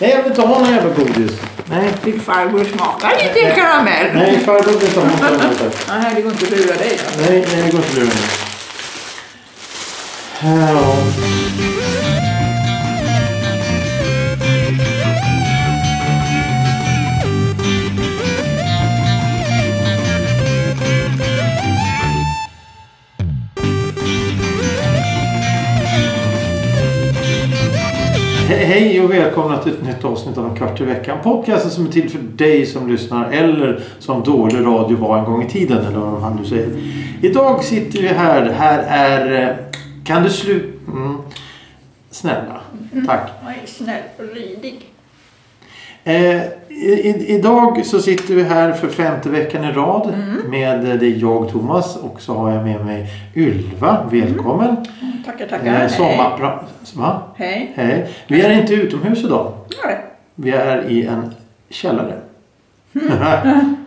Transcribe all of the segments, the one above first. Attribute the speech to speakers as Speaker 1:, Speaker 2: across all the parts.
Speaker 1: Nej, jag vill inte ha någon jävla godis.
Speaker 2: Nej, fick farbror smaka lite karamell.
Speaker 1: Nej, farbror vill inte ha någon sån här.
Speaker 2: Nej, det går inte att lura dig. Då.
Speaker 1: Nej, nej, det går inte att lura mig. Ja. He- Hej och välkomna till ett nytt avsnitt av En kvart i veckan. Podcasten som är till för dig som lyssnar eller som dålig radio var en gång i tiden. Eller vad han nu säger. Idag sitter vi här. Det här är... eh, Kan du sluta... Mm. Snälla. Tack.
Speaker 2: Nej, snäll och lydig.
Speaker 1: Eh, i, i, idag så sitter vi här för femte veckan i rad.
Speaker 2: Mm.
Speaker 1: Med eh, det är jag Thomas och så har jag med mig Ylva. Välkommen.
Speaker 2: Mm, Tackar, tackar.
Speaker 1: Eh,
Speaker 2: Hej.
Speaker 1: sommar... Va?
Speaker 2: Hej.
Speaker 1: Hej. Vi är inte utomhus idag.
Speaker 2: Nej.
Speaker 1: Vi är i en källare.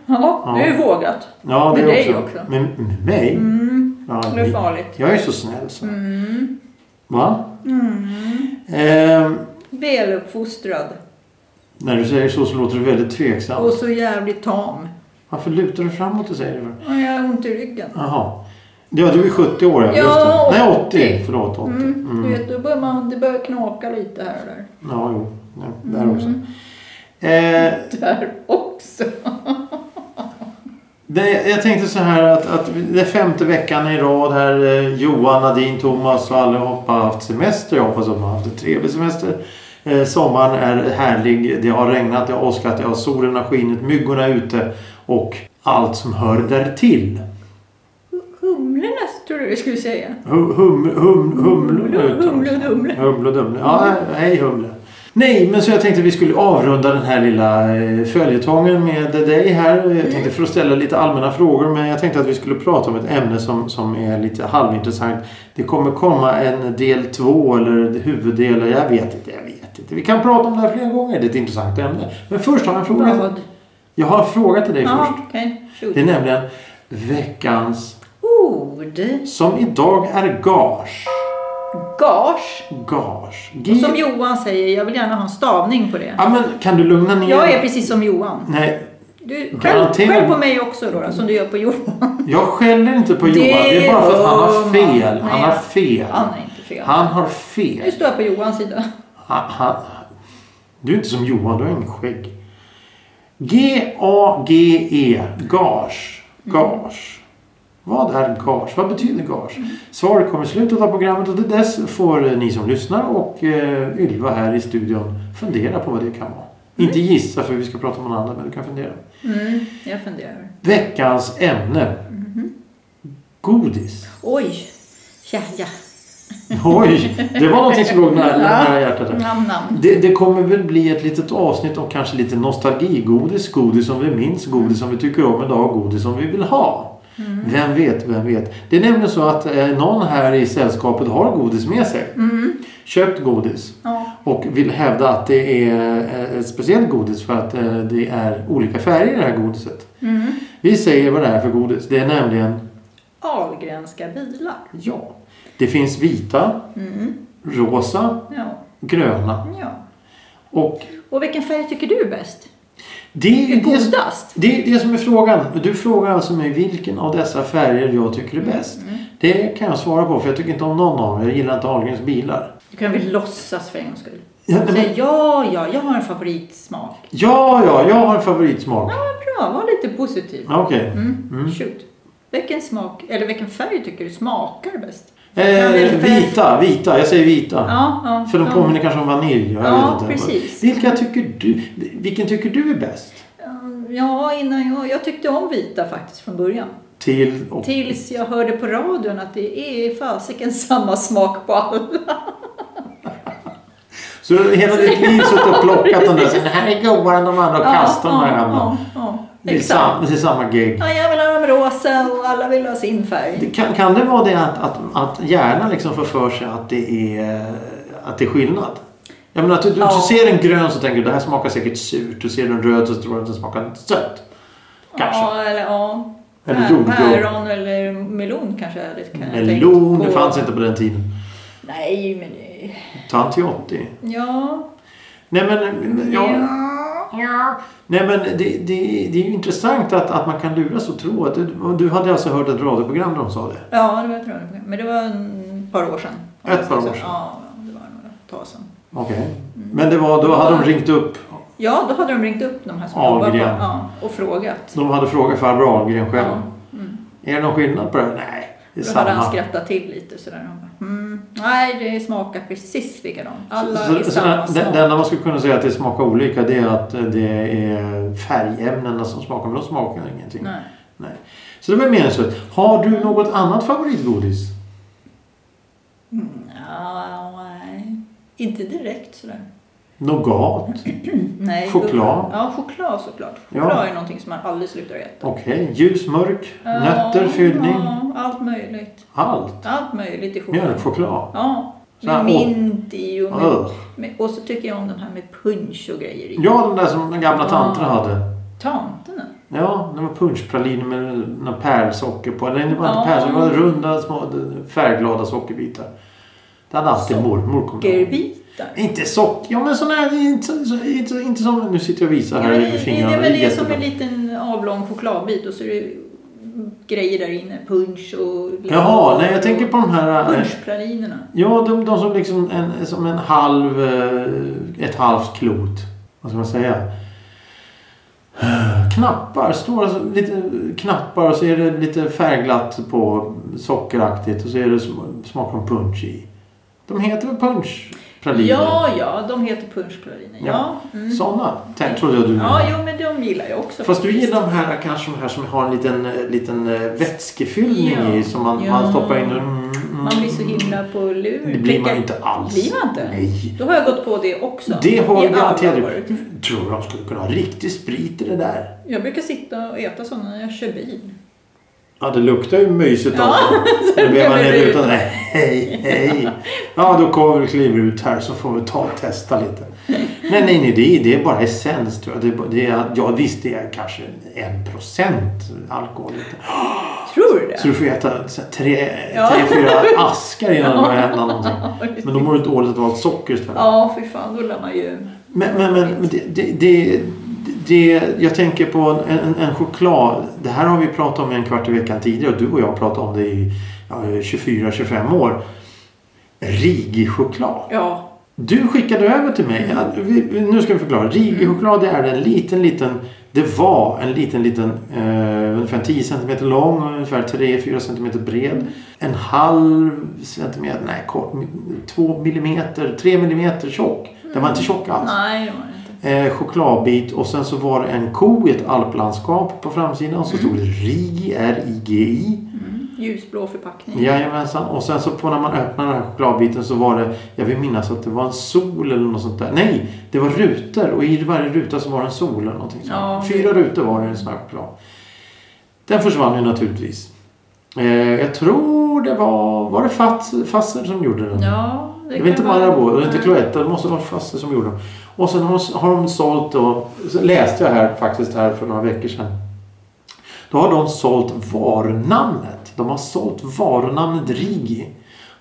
Speaker 2: Ja, det är ju vågat.
Speaker 1: Ja, det
Speaker 2: Med
Speaker 1: är
Speaker 2: dig
Speaker 1: också.
Speaker 2: också.
Speaker 1: Med, med mig?
Speaker 2: Mm,
Speaker 1: Ja,
Speaker 2: det är
Speaker 1: vi-
Speaker 2: farligt.
Speaker 1: jag är ju så snäll så.
Speaker 2: Mm,
Speaker 1: Va?
Speaker 2: mm.
Speaker 1: Ehm,
Speaker 2: Väluppfostrad.
Speaker 1: när du säger så så låter du väldigt tveksam.
Speaker 2: Och så jävligt tam.
Speaker 1: Varför lutar du framåt och säger det? för?
Speaker 2: Och jag har ont i ryggen.
Speaker 1: Jaha. Ja, du är 70 år.
Speaker 2: Ja,
Speaker 1: just det. Nej, 80.
Speaker 2: 80.
Speaker 1: Förlåt, 80.
Speaker 2: Mm,
Speaker 1: Mm.
Speaker 2: Du vet, då börjar man, det börjar knaka lite här och där.
Speaker 1: Ja, jo. Ja, där också. Eh,
Speaker 2: Där också.
Speaker 1: Det, jag tänkte så här att, att det är femte veckan i rad här. eh, Johan, Nadine, Thomas och allihopa har haft semester. Jag hoppas att de har haft en trevlig semester. Eh, sommaren är härlig. Det har regnat, det har åskat, det har solen har skinit, myggorna är ute och allt som hör därtill.
Speaker 2: Humlorna tror du vi skulle säga.
Speaker 1: Hum, hum, hum, eh, humlor
Speaker 2: Humlor,
Speaker 1: ute.
Speaker 2: humlor, humlor.
Speaker 1: Humlor, humlor. Ja, hej humle. Nej, men så jag tänkte vi skulle avrunda den här lilla eh, följetongen med dig här. Jag tänkte för att ställa lite allmänna frågor, men jag tänkte att vi skulle prata om ett ämne som, som är lite halvintressant. Det kommer komma en del två eller huvuddel, eller jag vet inte, jag vet inte. Vi kan prata om det här flera gånger, det är ett intressant ämne. Men först har jag en fråga.
Speaker 2: Vad?
Speaker 1: Jag har en fråga till dig först.
Speaker 2: Ja, okej.
Speaker 1: Det
Speaker 2: Shoot.
Speaker 1: är nämligen veckans,
Speaker 2: Ord.
Speaker 1: som idag är gage.
Speaker 2: Gage.
Speaker 1: Gage. G-
Speaker 2: Och som Johan säger, jag vill gärna ha en stavning på det.
Speaker 1: Mm. Ja, men kan du lugna ner
Speaker 2: Jag är precis som Johan.
Speaker 1: Nej,
Speaker 2: Du, skäll,
Speaker 1: Garanterat.
Speaker 2: skäll på mig också då, då, som du gör på Johan.
Speaker 1: jag skäller inte på
Speaker 2: Det
Speaker 1: Johan. Det är bara för att han har
Speaker 2: gör man.
Speaker 1: fel. Han
Speaker 2: Nej.
Speaker 1: har fel.
Speaker 2: Han är inte fel.
Speaker 1: Han har
Speaker 2: Nu
Speaker 1: fel.
Speaker 2: står jag på Johans sida.
Speaker 1: Han, han, du är inte som Johan, du har ingen skägg. G-A-G-E. E. Gage.
Speaker 2: Mm.
Speaker 1: Gage. Vad är gage? Vad betyder gage?
Speaker 2: Mm.
Speaker 1: Svaret kommer i slutet av programmet och till dess får eh, ni som lyssnar och eh, Ylva här i studion fundera på vad det kan vara. Inte gissa för vi ska prata om någon annan men du kan fundera.
Speaker 2: Mm, jag funderar.
Speaker 1: Veckans ämne. Godis.
Speaker 2: Oj! Ja, ja.
Speaker 1: Oj, det var någonting som låg nära, nära hjärtat. där.
Speaker 2: Namn, namn.
Speaker 1: Det, det kommer väl bli ett litet avsnitt om kanske lite nostalgigodis. Godis som vi minns, godis som vi tycker om idag, godis som vi vill ha. Vem vet, vem vet. Det är nämligen så att eh, någon här i sällskapet har godis med sig. Köpt godis.
Speaker 2: Ja.
Speaker 1: Och vill hävda att det är eh, ett speciellt godis för att eh, det är olika färger i det här godiset.
Speaker 2: Mm.
Speaker 1: Vi säger vad det är för godis. Det är nämligen
Speaker 2: Ahlgrenska bilar.
Speaker 1: Ja. Det finns vita,
Speaker 2: Mm.
Speaker 1: rosa,
Speaker 2: Ja.
Speaker 1: gröna.
Speaker 2: ja.
Speaker 1: Och
Speaker 2: Och vilken färg tycker du är bäst?
Speaker 1: det är ju det, som-
Speaker 2: Godast?
Speaker 1: det, är det som är frågan. Du frågar alltså mig vilken av dessa färger jag tycker är bäst.
Speaker 2: Mm.
Speaker 1: Det kan jag svara på för jag tycker inte om någon av dem. Jag gillar inte Ahlgrens bilar.
Speaker 2: Du kan väl låtsas för en gångs skull.
Speaker 1: Ja, nej, men-
Speaker 2: Säg ja, ja, jag har en favoritsmak.
Speaker 1: ja, ja, jag har en favoritsmak.
Speaker 2: Ja, bra, var lite positiv.
Speaker 1: Ja, Okej.
Speaker 2: Mm.
Speaker 1: Mm.
Speaker 2: Shoot. Vilken smak, eller vilken färg tycker du smakar bäst? Ja, det är
Speaker 1: Eh,
Speaker 2: för-
Speaker 1: vita, vita. Jag säger vita.
Speaker 2: Ja, ja.
Speaker 1: För de
Speaker 2: ja.
Speaker 1: påminner kanske om vanilj. Jag
Speaker 2: Ja,
Speaker 1: vet inte.
Speaker 2: precis.
Speaker 1: Vilka tycker du, vilken tycker du är bäst?
Speaker 2: Ja, innan jag, jag tyckte om vita faktiskt från början.
Speaker 1: Till och...
Speaker 2: Tills jag hörde på radion att det är fasiken samma smak på alla.
Speaker 1: Så du har hela ditt liv suttit och plockat den där. Den här är godare än de andra och kastat de här gamla.
Speaker 2: ja, ja,
Speaker 1: Det är,
Speaker 2: Exakt.
Speaker 1: sam, det är samma gig.
Speaker 2: Ja, jag vill ha dem rosa och alla vill ha sin färg.
Speaker 1: Det kan, kan det vara det att, att, att hjärnan liksom får för sig att det är, att det är skillnad? Jag menar att du,
Speaker 2: Ja.
Speaker 1: du ser en grön så tänker du det här smakar säkert surt. Du ser en röd så tror du att den smakar sött. Kanske.
Speaker 2: Ja, eller ja.
Speaker 1: Eller
Speaker 2: Pär-
Speaker 1: jordgubb.
Speaker 2: Päron eller melon kanske. är lite- kan jag tänka
Speaker 1: Melon,
Speaker 2: på.
Speaker 1: det fanns inte på den tiden.
Speaker 2: Nej, men det...
Speaker 1: Tant till 80.
Speaker 2: Ja,
Speaker 1: Nej men, ja, nej, men det, det, det är ju intressant att, att man kan luras och tro att... Du, du hade alltså hört ett radioprogram där de sa det?
Speaker 2: Ja, det var ett radioprogram. Men det var en par år sedan. Om
Speaker 1: Ett
Speaker 2: jag säger
Speaker 1: par år
Speaker 2: så.
Speaker 1: sedan.
Speaker 2: Ja, det var nog ett tag sedan.
Speaker 1: Okej. Mm. Men det var, då hade de ringt upp.
Speaker 2: Ja, då hade de ringt upp de här som
Speaker 1: Ahlgren.
Speaker 2: jobbar på ja, och frågat.
Speaker 1: De hade frågat farbror Ahlgren själv.
Speaker 2: Ja, mm.
Speaker 1: Är det någon skillnad på det här? Nej, det är
Speaker 2: Då hade han
Speaker 1: samma.
Speaker 2: skrattat till lite sådär. Han bara, mm, nej, det smakar precis likadant. Alla
Speaker 1: Så-
Speaker 2: är
Speaker 1: så-
Speaker 2: samma
Speaker 1: det-
Speaker 2: smak.
Speaker 1: Det enda man skulle kunna säga att det smakar olika det är att det är färgämnena som smakar, men de smakar ingenting.
Speaker 2: Nej.
Speaker 1: Nej. Så det var meningslöst. Har du något annat favoritgodis?
Speaker 2: Mm, ja, nej. Inte direkt sådär.
Speaker 1: Nougat?
Speaker 2: Nej,
Speaker 1: Choklad.
Speaker 2: gubbar. Ja, choklad såklart. Choklad
Speaker 1: Ja.
Speaker 2: är någonting som man aldrig slutar äta.
Speaker 1: Okej. Ljus, mörk, nötter,
Speaker 2: Ja,
Speaker 1: fyllning,
Speaker 2: Ja, allt möjligt.
Speaker 1: allt.
Speaker 2: Allt möjligt i choklad.
Speaker 1: Mjölkchoklad.
Speaker 2: Ja.
Speaker 1: Så här,
Speaker 2: Med mint i och med,
Speaker 1: Ugh.
Speaker 2: med, Och så tycker jag om de här med punch och grejer i.
Speaker 1: Ja, de där som den gamla tanten
Speaker 2: Ja.
Speaker 1: hade.
Speaker 2: Tanterna.
Speaker 1: Ja, det var punschpraliner med någon pärlsocker på. Nej, det var inte
Speaker 2: Ja.
Speaker 1: pärlsocker. Det var runda, små färgglada sockerbitar. Det hade alltid mormor. kommer jag ihåg.
Speaker 2: Sockerbitar.
Speaker 1: Inte socker. Ja, men sån här... Inte, så- så- inte, inte som... Nu sitter jag och visar
Speaker 2: Ja,
Speaker 1: här
Speaker 2: men
Speaker 1: i
Speaker 2: det, det
Speaker 1: fingrarna.
Speaker 2: är väl det som
Speaker 1: jättebra.
Speaker 2: en liten avlång chokladbit och så är det grejer där inne. Punch och...
Speaker 1: Jaha, nej jag tänker på de här... eh,
Speaker 2: Punschpralinerna.
Speaker 1: Ja, de, de som liksom en, som en halv... eh, Ett halvt klot. Vad ska man säga? Knappar, stora så- lite knappar och så är det lite färgglatt på sockeraktigt och så är det sm- smak från punch i. De heter väl punschpraliner?
Speaker 2: Ja, ja, de heter punschpraliner. Ja. Mm.
Speaker 1: Sådana tänk, trodde jag du menade.
Speaker 2: Ja, jo, men de gillar jag också.
Speaker 1: Fast du
Speaker 2: faktiskt.
Speaker 1: gillar de här kanske de här som har en liten, liten eh, vätskefyllning
Speaker 2: Ja.
Speaker 1: i som man,
Speaker 2: Ja.
Speaker 1: man stoppar in. och- Mm, mm,
Speaker 2: Man blir så himla på lur.
Speaker 1: Det blir man
Speaker 2: Prickar-
Speaker 1: ju inte alls.
Speaker 2: Blir man inte?
Speaker 1: Nej.
Speaker 2: Då har jag gått på det också.
Speaker 1: Det har
Speaker 2: I
Speaker 1: jag
Speaker 2: alla
Speaker 1: garanterat
Speaker 2: år.
Speaker 1: gjort. Tror du de skulle kunna ha riktig sprit i det där?
Speaker 2: Jag brukar sitta och äta sådana när jag kör bil.
Speaker 1: Ja, det luktar ju mysigt av
Speaker 2: Ja,
Speaker 1: det.
Speaker 2: så
Speaker 1: Då blir man
Speaker 2: kommer
Speaker 1: ner
Speaker 2: det ut.
Speaker 1: utan det. Hej, hej. Ja, då kommer vi kliver ut här så får vi ta och testa lite. Nej, nej, nej. Det är, det är bara essens tror jag. Det är, bara- det är, ja, visst, det är kanske en procent alkohol. i det.
Speaker 2: Tror du det?
Speaker 1: Så du får äta så här tre,
Speaker 2: Ja.
Speaker 1: tre, fyra askar innan det börjar hända någonting. Men då mår du dåligt att ha ett socker istället.
Speaker 2: Ja, fy fan, då lär man ju...
Speaker 1: Men, men, men men det, det, det, det, jag tänker på en, en, en choklad. Det här har vi pratat om en kvart i veckan tidigare och du och jag har pratat om det i ja, 24-25 år. Rigi-choklad.
Speaker 2: Ja,
Speaker 1: Du skickade över till mig. Ja, vi, nu ska vi förklara. Rigi-choklad det är en liten, liten... Det var en liten, liten eh, ungefär 10 centimeter lång och ungefär 3-4 centimeter bred. En halv centimeter, nej kort, 2 millimeter, 3 millimeter tjock. Den var inte tjock alls
Speaker 2: nej det var det inte.
Speaker 1: eh, chokladbit och sen så var det en ko i ett alplandskap på framsidan och så stod det RIGI, R-I-G-I.
Speaker 2: Mm. Ljusblå förpackning.
Speaker 1: Jajamensan. Och sen så på när man öppnade den här chokladbiten så var det, jag vill minnas att det var en sol eller något sånt där. Nej, det var rutor och i varje ruta så var det en sol eller någonting sånt.
Speaker 2: Ja.
Speaker 1: Fyra rutor var det i en sån här choklad. Den försvann ju naturligtvis. Eh, jag tror det var, var det Fats- Fasser som gjorde den?
Speaker 2: Ja,
Speaker 1: Det var inte
Speaker 2: kan vara-
Speaker 1: Marabou, det var inte
Speaker 2: Nej.
Speaker 1: Cloetta, det måste vara Fasse som gjorde dem. Och sen har de, har de sålt då, så läste jag här faktiskt här för några veckor sedan. Då har de sålt varunamnet. De har sålt varunamnet Rigi.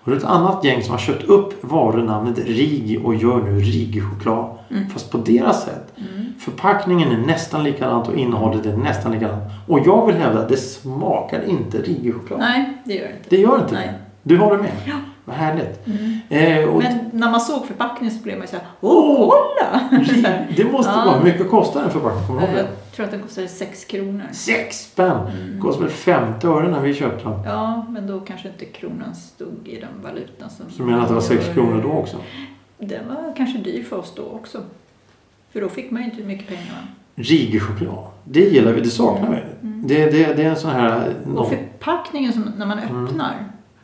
Speaker 1: Och det är ett annat gäng som har köpt upp varunamnet Rigi och gör nu Rigi-choklad.
Speaker 2: Mm.
Speaker 1: Fast på deras sätt. Förpackningen är nästan likadant och innehållet är nästan likadant. Och jag vill hävda att det smakar inte Rigi-choklad.
Speaker 2: Nej, det gör det inte.
Speaker 1: Det gör inte
Speaker 2: Nej.
Speaker 1: det. Du håller med?
Speaker 2: Ja.
Speaker 1: Vad härligt. Eh, och
Speaker 2: Men när man såg förpackningen så blev man ju såhär, åh, kolla!
Speaker 1: Det måste
Speaker 2: Ja.
Speaker 1: vara. Hur mycket kostar en förpackning? Kommer du ihåg
Speaker 2: jag
Speaker 1: det?
Speaker 2: tror att den kostade 6 kronor. Mm.
Speaker 1: Sex spänn! Kostade väl 50 öre när vi köpte den.
Speaker 2: Ja, men då kanske inte kronan stod i den valutan som...
Speaker 1: Så du menar att det var sex kronor då också?
Speaker 2: Den var kanske dyr för oss då också. För då fick man ju inte mycket pengar. va?
Speaker 1: Rigechoklad. Det gillar vi. Det saknar vi. Det, det, det är en sån här...
Speaker 2: Mm.
Speaker 1: eh,
Speaker 2: Och förpackningen som, när man
Speaker 1: Mm.
Speaker 2: öppnar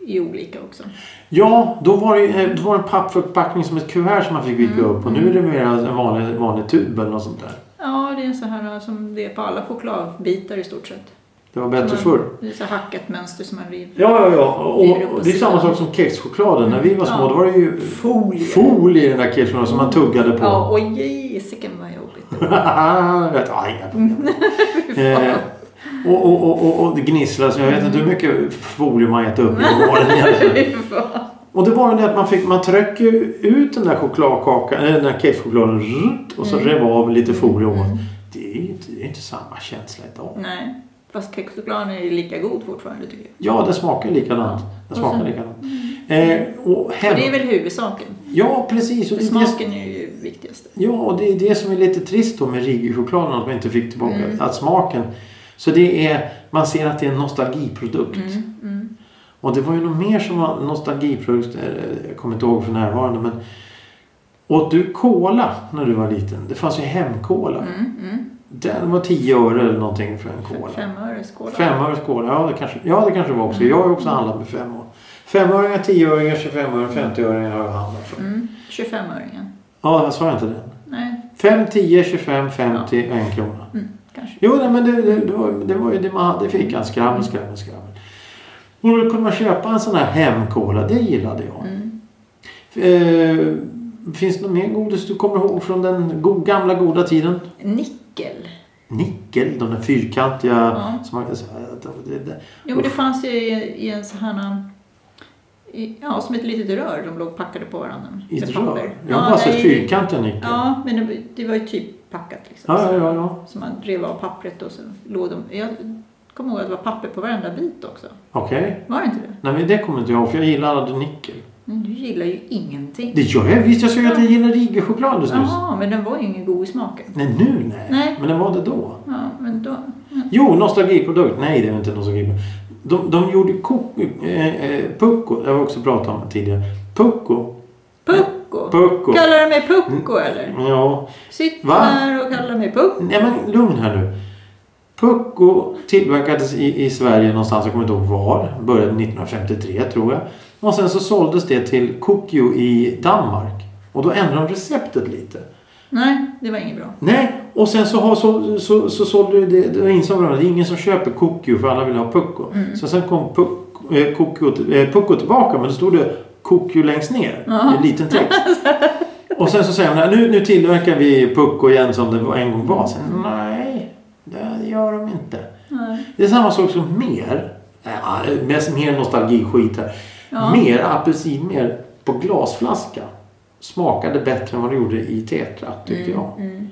Speaker 2: är olika också.
Speaker 1: Ja, då var det, ju- eh, då var det en pappförpackning som ett kuvert som man fick vidga upp.
Speaker 2: Mm.
Speaker 1: Och nu är det mer en vanlig, vanlig tub eller något sånt där.
Speaker 2: Ja, det är så här som det är på alla chokladbitar i stort sett.
Speaker 1: Det var bättre
Speaker 2: Man-
Speaker 1: förr.
Speaker 2: Det är så här hackat mönster som man river.
Speaker 1: Ja, ja, ja. Och,
Speaker 2: River upp
Speaker 1: och
Speaker 2: och
Speaker 1: det är samma
Speaker 2: sidan.
Speaker 1: sak som kexchokladen. När vi var små
Speaker 2: Ja.
Speaker 1: då var det ju
Speaker 2: Folie.
Speaker 1: folie i den där kexchokladen som man tuggade på.
Speaker 2: Ja, och jesiken vad jobbigt.
Speaker 1: jag vet, ah, inga problem. eh, och, och, och, och, och det gnisslar så jag vet inte hur mycket folie man äter upp i åren. egentligen.
Speaker 2: Fy fan.
Speaker 1: Och det var ju det att man fick, man tryck ju ut den där chokladkakan, eller den där cakechokladen rutt, och så
Speaker 2: Mm.
Speaker 1: rev av lite folie åt.
Speaker 2: Mm.
Speaker 1: Det är ju inte, det är inte samma känsla idag.
Speaker 2: Nej. Fast kexchokladen är ju lika god fortfarande tycker jag.
Speaker 1: Ja, den smakar ju likadant. Den
Speaker 2: Och
Speaker 1: smakar
Speaker 2: sen-
Speaker 1: likadant. Eh, och hem,
Speaker 2: Alltså. Mm. Och det är väl huvudsaken.
Speaker 1: Ja, precis. Och
Speaker 2: För
Speaker 1: det, är det-
Speaker 2: smaken är ju viktigast.
Speaker 1: ja, och det är det som är lite trist då med Rigi-chokladen, att man inte fick tillbaka
Speaker 2: Mm.
Speaker 1: att smaken. Så det är, man ser att det är en nostalgiprodukt.
Speaker 2: Mm, mm.
Speaker 1: Och det var ju något mer som var nostalgiprodukt, eh, jag kommer inte ihåg för närvarande. Men åt du cola när du var liten? Det fanns ju hemcola.
Speaker 2: Mm, mm.
Speaker 1: Den var 10 öre eller någonting för en cola.
Speaker 2: Femöres cola.
Speaker 1: Femöres cola, ja det kanske, ja, det kanske var också.
Speaker 2: Mm.
Speaker 1: Jag har ju också handlat med femmor. Femöringar, tioöringar, tjugofemöringar, femtioöringar har jag handlat för.
Speaker 2: Mm. 25-öringen.
Speaker 1: Ja, jag sa inte det.
Speaker 2: Nej,
Speaker 1: 5, 10, 25, 50 och en krona.
Speaker 2: mm. kanske.
Speaker 1: Jo, nej, men det, det, det, var, det var ju det man hade i fickan.
Speaker 2: Mm.
Speaker 1: Skrammel, skrammel, skrammel. Och då kunde man köpa en sån här hemkola. Det gillade jag.
Speaker 2: Mm.
Speaker 1: Eh, finns det något mer godis du kommer ihåg från den go- gamla goda tiden?
Speaker 2: Nickel.
Speaker 1: Nickel, de där fyrkantiga
Speaker 2: Ja.
Speaker 1: som man kan säga. att de- Det, det.
Speaker 2: Jo, men det fanns ju i, i en sån här... um, I, ja, som ett litet rör. De låg packade på varandra.
Speaker 1: I
Speaker 2: med
Speaker 1: ett
Speaker 2: papper.
Speaker 1: rör. Jag har bara
Speaker 2: nej.
Speaker 1: sett fyrkantiga nickel.
Speaker 2: Ja, men det, det var ju typ packat liksom.
Speaker 1: Ja, ja, ja, ja.
Speaker 2: Så man rev av pappret och så låg de... Jag kommer ihåg att det var papper på varenda bit också.
Speaker 1: Okej.
Speaker 2: Var det inte det?
Speaker 1: Nej, men det kommer inte jag ihåg för jag gillar aldrig nickel.
Speaker 2: Men du gillar ju ingenting.
Speaker 1: Det gör jag visst. Jag sa ju att jag gillar Rige-choklad alldeles nyss.
Speaker 2: Jaha, men den var ju ingen god i smaken.
Speaker 1: Nej, nu nej.
Speaker 2: Nej.
Speaker 1: Men det var det då.
Speaker 2: Ja, men då...
Speaker 1: Jo, nostalgiprodukt. Nej, det är inte nostalgiprodukt. De, de gjorde ko- eh, eh, Pucko. Det har vi också pratat om tidigare. Pucko.
Speaker 2: Pucko!
Speaker 1: Pucko.
Speaker 2: Kallar du mig Pucko eller?
Speaker 1: Ja.
Speaker 2: Sitt
Speaker 1: Va?
Speaker 2: här och kallar mig Pucko.
Speaker 1: Nej, men lugn här nu. Pucko tillverkades i, i Sverige någonstans, jag kommer inte ihåg var. Började 1953 tror jag. Och sen så såldes det till Kokio i Danmark. Och då ändrade de receptet lite.
Speaker 2: Nej, det var inget bra.
Speaker 1: Nej, och sen så, har, så, så, så sålde ju det, det insåg de att det är ingen som köper Kokio för alla vill ha Pucko.
Speaker 2: Mm.
Speaker 1: Så sen kom Puck, eh, Kokio, till- eh, Pucko tillbaka men då stod det Kokio längst ner i en liten text. och sen så säger de nu, nu tillverkar vi Pucko igen som det var- en gång var. Sen, nej, det gör de inte.
Speaker 2: Nej.
Speaker 1: Det är samma sak som mer, äh, mest, mer nostalgiskit här.
Speaker 2: Ja.
Speaker 1: Mer apelsinmer på glasflaska smakade bättre än vad det gjorde i tetra tyckte jag.
Speaker 2: Mm.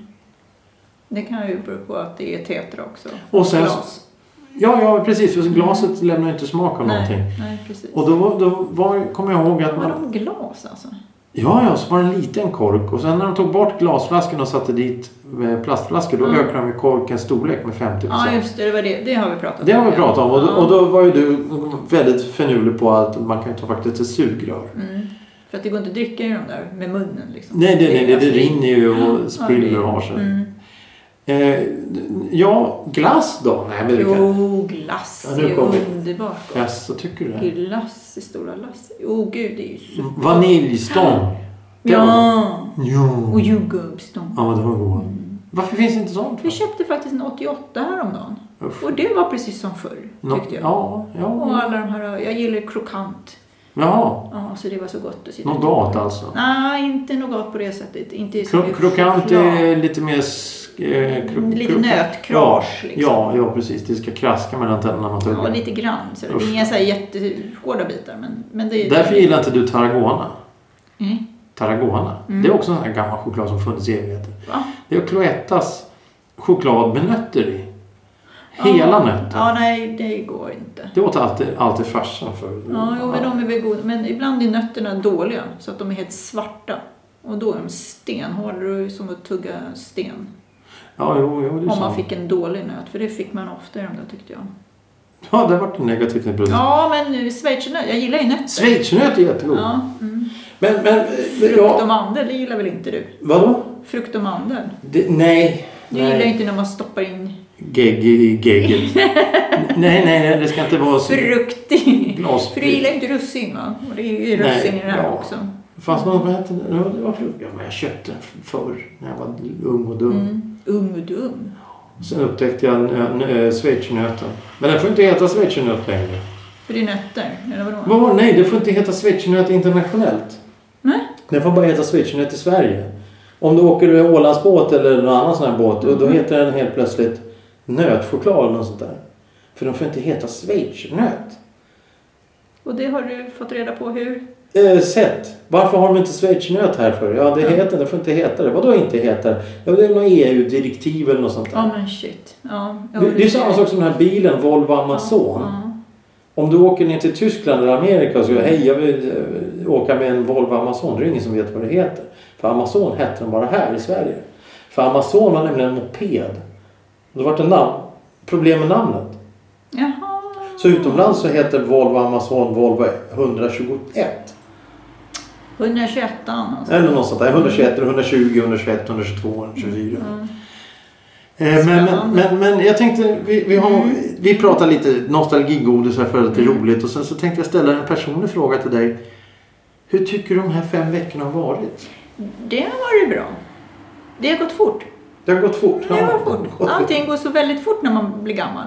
Speaker 2: Det kan ju bero på att det är tetra också.
Speaker 1: Och sen-
Speaker 2: Glas.
Speaker 1: Ja, ja precis. För glaset lämnar ju inte smak av någonting.
Speaker 2: Nej, nej, precis.
Speaker 1: Och då, var- då var, kommer jag ihåg att
Speaker 2: Var
Speaker 1: man...
Speaker 2: de glas alltså?
Speaker 1: Ja, ja, så var det en liten kork. Och sen när de tog bort glasflaskorna och satte dit eh, plastflaskor då
Speaker 2: Mm.
Speaker 1: ökade de ju korkens storlek med 50
Speaker 2: Ja, just det. Det, var det. det har vi pratat om.
Speaker 1: Det har vi pratat om. Och då,
Speaker 2: Ja.
Speaker 1: och då var ju du väldigt finurlig på att man kan ju ta faktiskt ett sugrör.
Speaker 2: Mm. För att det går inte att dricka i de där med munnen liksom.
Speaker 1: Nej, det, nej, det, det
Speaker 2: alltså-
Speaker 1: rinner ju och
Speaker 2: Ja, det-
Speaker 1: spiller och har sig.
Speaker 2: Mm.
Speaker 1: Eh, ja, glass då? Nej, men det kan...
Speaker 2: Jo, glass
Speaker 1: Ja,
Speaker 2: är
Speaker 1: nu
Speaker 2: ju
Speaker 1: kom vi.
Speaker 2: underbart.
Speaker 1: Ja, så tycker du det?
Speaker 2: Glass i stora lass. Åh oh, gud, det är ju så...
Speaker 1: Vaniljstång? Det var-
Speaker 2: Ja!
Speaker 1: Jo.
Speaker 2: Och jordgubbsstång. Mm.
Speaker 1: Ja, det var god. Varför finns det inte sånt?
Speaker 2: Vi köpte faktiskt en 88 häromdagen.
Speaker 1: Usch.
Speaker 2: Och det var precis som förr,
Speaker 1: Nå-
Speaker 2: tyckte jag.
Speaker 1: Ja,
Speaker 2: Och
Speaker 1: ja.
Speaker 2: alla de här, jag gillar krokant.
Speaker 1: Jaha,
Speaker 2: Ja, så det var så gott att sitta
Speaker 1: nougat alltså.
Speaker 2: Nej, inte nougat på det sättet. Inte som
Speaker 1: Kro-
Speaker 2: är
Speaker 1: krokant
Speaker 2: choklad. Mm,
Speaker 1: är lite mer... sk- eh, kro-
Speaker 2: Lite
Speaker 1: krokant.
Speaker 2: nötkrage,
Speaker 1: Ja,
Speaker 2: liksom.
Speaker 1: Ja, ja, precis. Det ska kraska mellan tänderna när man
Speaker 2: Ja,
Speaker 1: tuggar.
Speaker 2: lite grann. Så det
Speaker 1: Usch.
Speaker 2: är inga så här jättehårda bitar. Men, men det är...
Speaker 1: Därför gillar inte du Tarragona.
Speaker 2: Mm.
Speaker 1: Tarragona.
Speaker 2: Mm.
Speaker 1: Det är också en sån här gammal choklad som funnits i evigheter.
Speaker 2: Va?
Speaker 1: Det är Cloettas choklad med nötter i. Hela
Speaker 2: ja.
Speaker 1: nötter.
Speaker 2: Ja, nej, det går inte.
Speaker 1: Det åt alltid, alltid farsan förr.
Speaker 2: Ja, jo, men de är väl goda. Men ibland är nötterna dåliga, så att de är helt svarta. Och då är de stenhårda. Det är som att tugga sten.
Speaker 1: Ja, jo, jo, det är
Speaker 2: Om
Speaker 1: sant. Mm.
Speaker 2: man fick en dålig nöt, för det fick man ofta i de där tyckte jag.
Speaker 1: Ja, det vart en negativ produkt.
Speaker 2: Ja, men schweizernöt. Jag gillar ju nötter.
Speaker 1: Schweizernöt är jättegod.
Speaker 2: Ja, mm.
Speaker 1: Men, men, men,
Speaker 2: Frukt och
Speaker 1: ja,
Speaker 2: mandel, det gillar väl inte du?
Speaker 1: vadå?
Speaker 2: Frukt och mandel.
Speaker 1: Det, nej.
Speaker 2: Du
Speaker 1: nej.
Speaker 2: gillar ju inte när man stoppar in
Speaker 1: Gegg i gegget. nej, nej, nej, det ska inte vara så.
Speaker 2: frukt i.
Speaker 1: Glas.
Speaker 2: För du gillar ju inte russin va? Och det är ju russin
Speaker 1: Nej,
Speaker 2: i det här
Speaker 1: ja.
Speaker 2: också.
Speaker 1: Fanns någon, vad hette den? Ja, Det var frukt. Ja, men jag köpte den förr när jag var ung och dum.
Speaker 2: Mm. Ung och dum.
Speaker 1: Sen upptäckte jag en, en, eh, schweizernöten. Men den får inte heta schweizernöt längre.
Speaker 2: För det är nötter, eller vadå?
Speaker 1: Vad var Nej, det får inte heta schweizernöt internationellt.
Speaker 2: Nej.
Speaker 1: Den får bara heta schweizernöt i Sverige. Om du åker Ålandsbåt eller någon annan sån här båt då-
Speaker 2: Mhm.
Speaker 1: då heter den helt plötsligt nötchoklad eller något sånt där. För de får inte heta schweizernöt.
Speaker 2: Och det har du fått reda på hur?
Speaker 1: Eh, sett. Varför har de inte schweizernöt här för? Ja, det
Speaker 2: Ja.
Speaker 1: heter det. får inte heta det. Vadå inte heter det? Ja, det är något EU-direktiv eller något sånt där.
Speaker 2: Ja men shit. Ja, ja,
Speaker 1: det, det är samma sak som den här bilen, Volvo Amazon.
Speaker 2: Ja,
Speaker 1: Om du åker ner till Tyskland eller Amerika och säger hej jag vill eh, åka med en Volvo Amazon. Det är ingen som vet vad det heter. För Amazon hette den bara här i Sverige. För Amazon var nämligen en moped. Och då var det namn. problem med namnet.
Speaker 2: ja. Jaha.
Speaker 1: Så utomlands så heter Volvo Amazon Volvo 121.
Speaker 2: 121 alltså.
Speaker 1: Eller något sånt där. 121, 120, 121, 122, 124.
Speaker 2: Mm.
Speaker 1: Eh, Men, men,
Speaker 2: Spännande. Mm.
Speaker 1: men, men jag tänkte, vi, vi, har, vi pratar lite nostalgigodis här för att det är roligt och sen så tänkte jag ställa en personlig fråga till dig. Hur tycker du de här fem veckorna har varit?
Speaker 2: Det har varit bra. Det har gått fort.
Speaker 1: Det har gått fort.
Speaker 2: Det
Speaker 1: Ja,
Speaker 2: har
Speaker 1: det
Speaker 2: gått
Speaker 1: har
Speaker 2: fort.
Speaker 1: gått
Speaker 2: Allting går så väldigt fort när man blir gammal.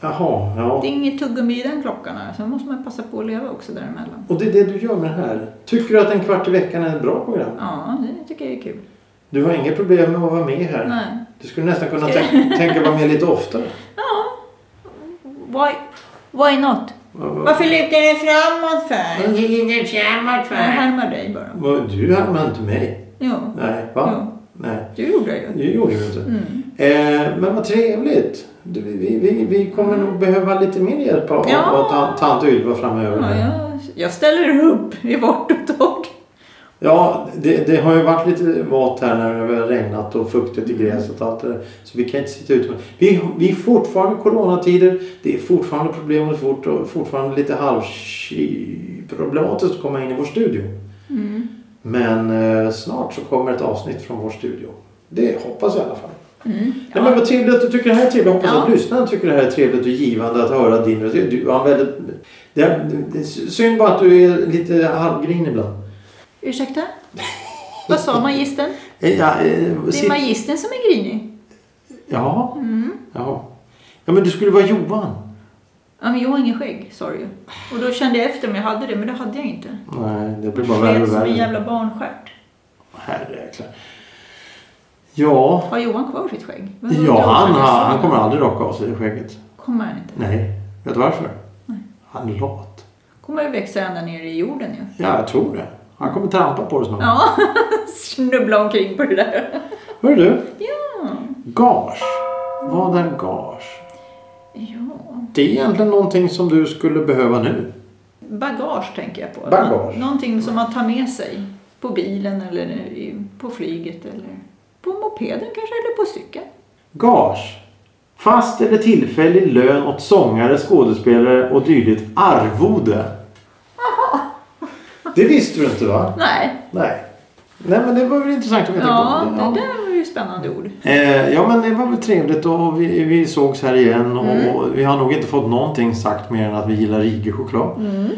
Speaker 1: Jaha, ja.
Speaker 2: Det är inget tuggummi i den klockan. här. Sen måste man passa på att leva också däremellan.
Speaker 1: Och det är det du gör med det här. Tycker du att en kvart i veckan är ett bra program?
Speaker 2: Ja, det tycker jag är kul.
Speaker 1: Du har inga problem med att vara med här.
Speaker 2: Nej.
Speaker 1: Du skulle nästan kunna tänka, tänka vara med lite oftare.
Speaker 2: Why, why not? Varför lutar du framåt
Speaker 1: Mm.
Speaker 2: för? Jag härmar dig bara.
Speaker 1: Vad- Du härmar inte mig.
Speaker 2: Jo,
Speaker 1: Nej, va?
Speaker 2: jo.
Speaker 1: Nej,
Speaker 2: du gjorde det ju.
Speaker 1: det gjorde du inte.
Speaker 2: Mm.
Speaker 1: Eh, men vad trevligt. Du, vi, vi- vi, vi kommer nog behöva lite mer hjälp av,
Speaker 2: Ja.
Speaker 1: av ta- tant Ylva framöver.
Speaker 2: Ja,
Speaker 1: Ja,
Speaker 2: jag, jag ställer upp i vart och torrt.
Speaker 1: det, det har ju varit lite våt här när det har regnat och fuktigt i gräset och allt det där. Så vi kan inte sitta ute. med- Vi, vi är fortfarande coronatider. Det är fortfarande problem och fort, och fortfarande lite halvproblematiskt att komma in i vår studio.
Speaker 2: Mm.
Speaker 1: Men eh, snart så kommer ett avsnitt från vår studio. Det hoppas jag i alla fall.
Speaker 2: Mm.
Speaker 1: Nej, men vad trevligt att du tycker det här är trevligt. Hoppas
Speaker 2: Ja.
Speaker 1: att lyssnaren tycker det här är trevligt och givande att höra din röst. Du har en väldigt... Det är, det är synd bara att du är lite halvgrin ibland.
Speaker 2: Ursäkta? Vad sa magistern?
Speaker 1: Eh, Ja, eh,
Speaker 2: Det är
Speaker 1: sitt...
Speaker 2: magistern som är grinig.
Speaker 1: ja,
Speaker 2: Mm.
Speaker 1: ja. Ja, men du skulle vara Johan.
Speaker 2: Ja, men jag har ingen skägg, sa du ju. Och då kände jag efter om jag hade det, men det hade jag inte.
Speaker 1: Nej, det blir bara värre
Speaker 2: Skägg
Speaker 1: och
Speaker 2: som en
Speaker 1: värre.
Speaker 2: jävla barnstjärt.
Speaker 1: Herrejäklar. Ja,
Speaker 2: Har Johan kvar sitt skägg? Vad undrar
Speaker 1: ja
Speaker 2: jag?
Speaker 1: han, har- han kommer aldrig raka av sig det skägget.
Speaker 2: Kommer han inte?
Speaker 1: Nej, vet du varför?
Speaker 2: Nej.
Speaker 1: Han är lat.
Speaker 2: Kommer det växa ända ner i jorden ju.
Speaker 1: Ja, jag tror det. Han kommer trampa på det snart.
Speaker 2: Ja, snubbla omkring på det där.
Speaker 1: Hör du?
Speaker 2: Ja.
Speaker 1: Gage. Vad är gage?
Speaker 2: ja.
Speaker 1: Det är egentligen någonting som du skulle behöva nu.
Speaker 2: Bagage tänker jag på.
Speaker 1: Bagage.
Speaker 2: Nå- Någonting som man tar med sig på bilen eller i- på flyget eller på mopeden kanske eller på cykeln.
Speaker 1: Gage. Fast eller tillfällig lön åt sångare, skådespelare och dylikt arvode. Det visste du inte va?
Speaker 2: Nej,
Speaker 1: Nej. Nej men det var väl intressant att veta.
Speaker 2: ja, det
Speaker 1: Ja.
Speaker 2: där var ju spännande ord.
Speaker 1: Eh, ja men det var väl trevligt och vi, vi sågs här igen och,
Speaker 2: Mm.
Speaker 1: och vi har nog inte fått någonting sagt mer än att vi gillar Rige choklad.
Speaker 2: Mm.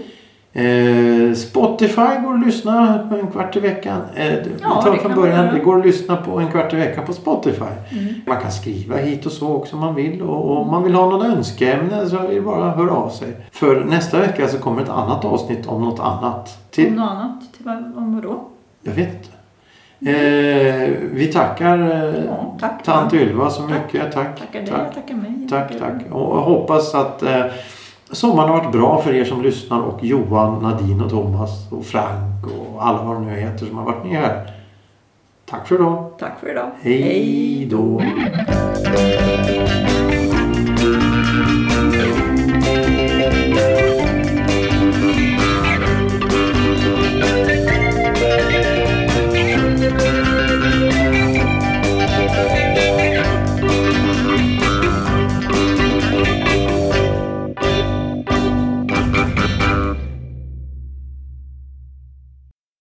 Speaker 1: Eh, Spotify går att lyssna på en kvart i veckan. Eh, det- vi
Speaker 2: Ja,
Speaker 1: tar
Speaker 2: det
Speaker 1: från
Speaker 2: kan man
Speaker 1: början.
Speaker 2: göra.
Speaker 1: Det går att lyssna på en kvart i veckan på Spotify.
Speaker 2: Mm.
Speaker 1: Man kan skriva hit och så också om man vill. Och om man vill ha något önskeämne så är det bara att höra av sig. För nästa vecka så kommer ett annat avsnitt om något annat.
Speaker 2: Om
Speaker 1: Till,
Speaker 2: något annat, till vad, om vad då?
Speaker 1: jag vet inte. Eh, vi tackar eh,
Speaker 2: Ja, tack.
Speaker 1: tant Ylva så
Speaker 2: Tack.
Speaker 1: mycket. Tack.
Speaker 2: Tackar dig,
Speaker 1: tack.
Speaker 2: jag tackar mig.
Speaker 1: Tack, tack. Och jag hoppas att eh, sommaren har varit bra för er som lyssnar och Johan, Nadine och Thomas och Frank och alla vad de nu heter som har varit med här. Tack för idag.
Speaker 2: Tack för idag.
Speaker 1: Hej då.
Speaker 2: Hej.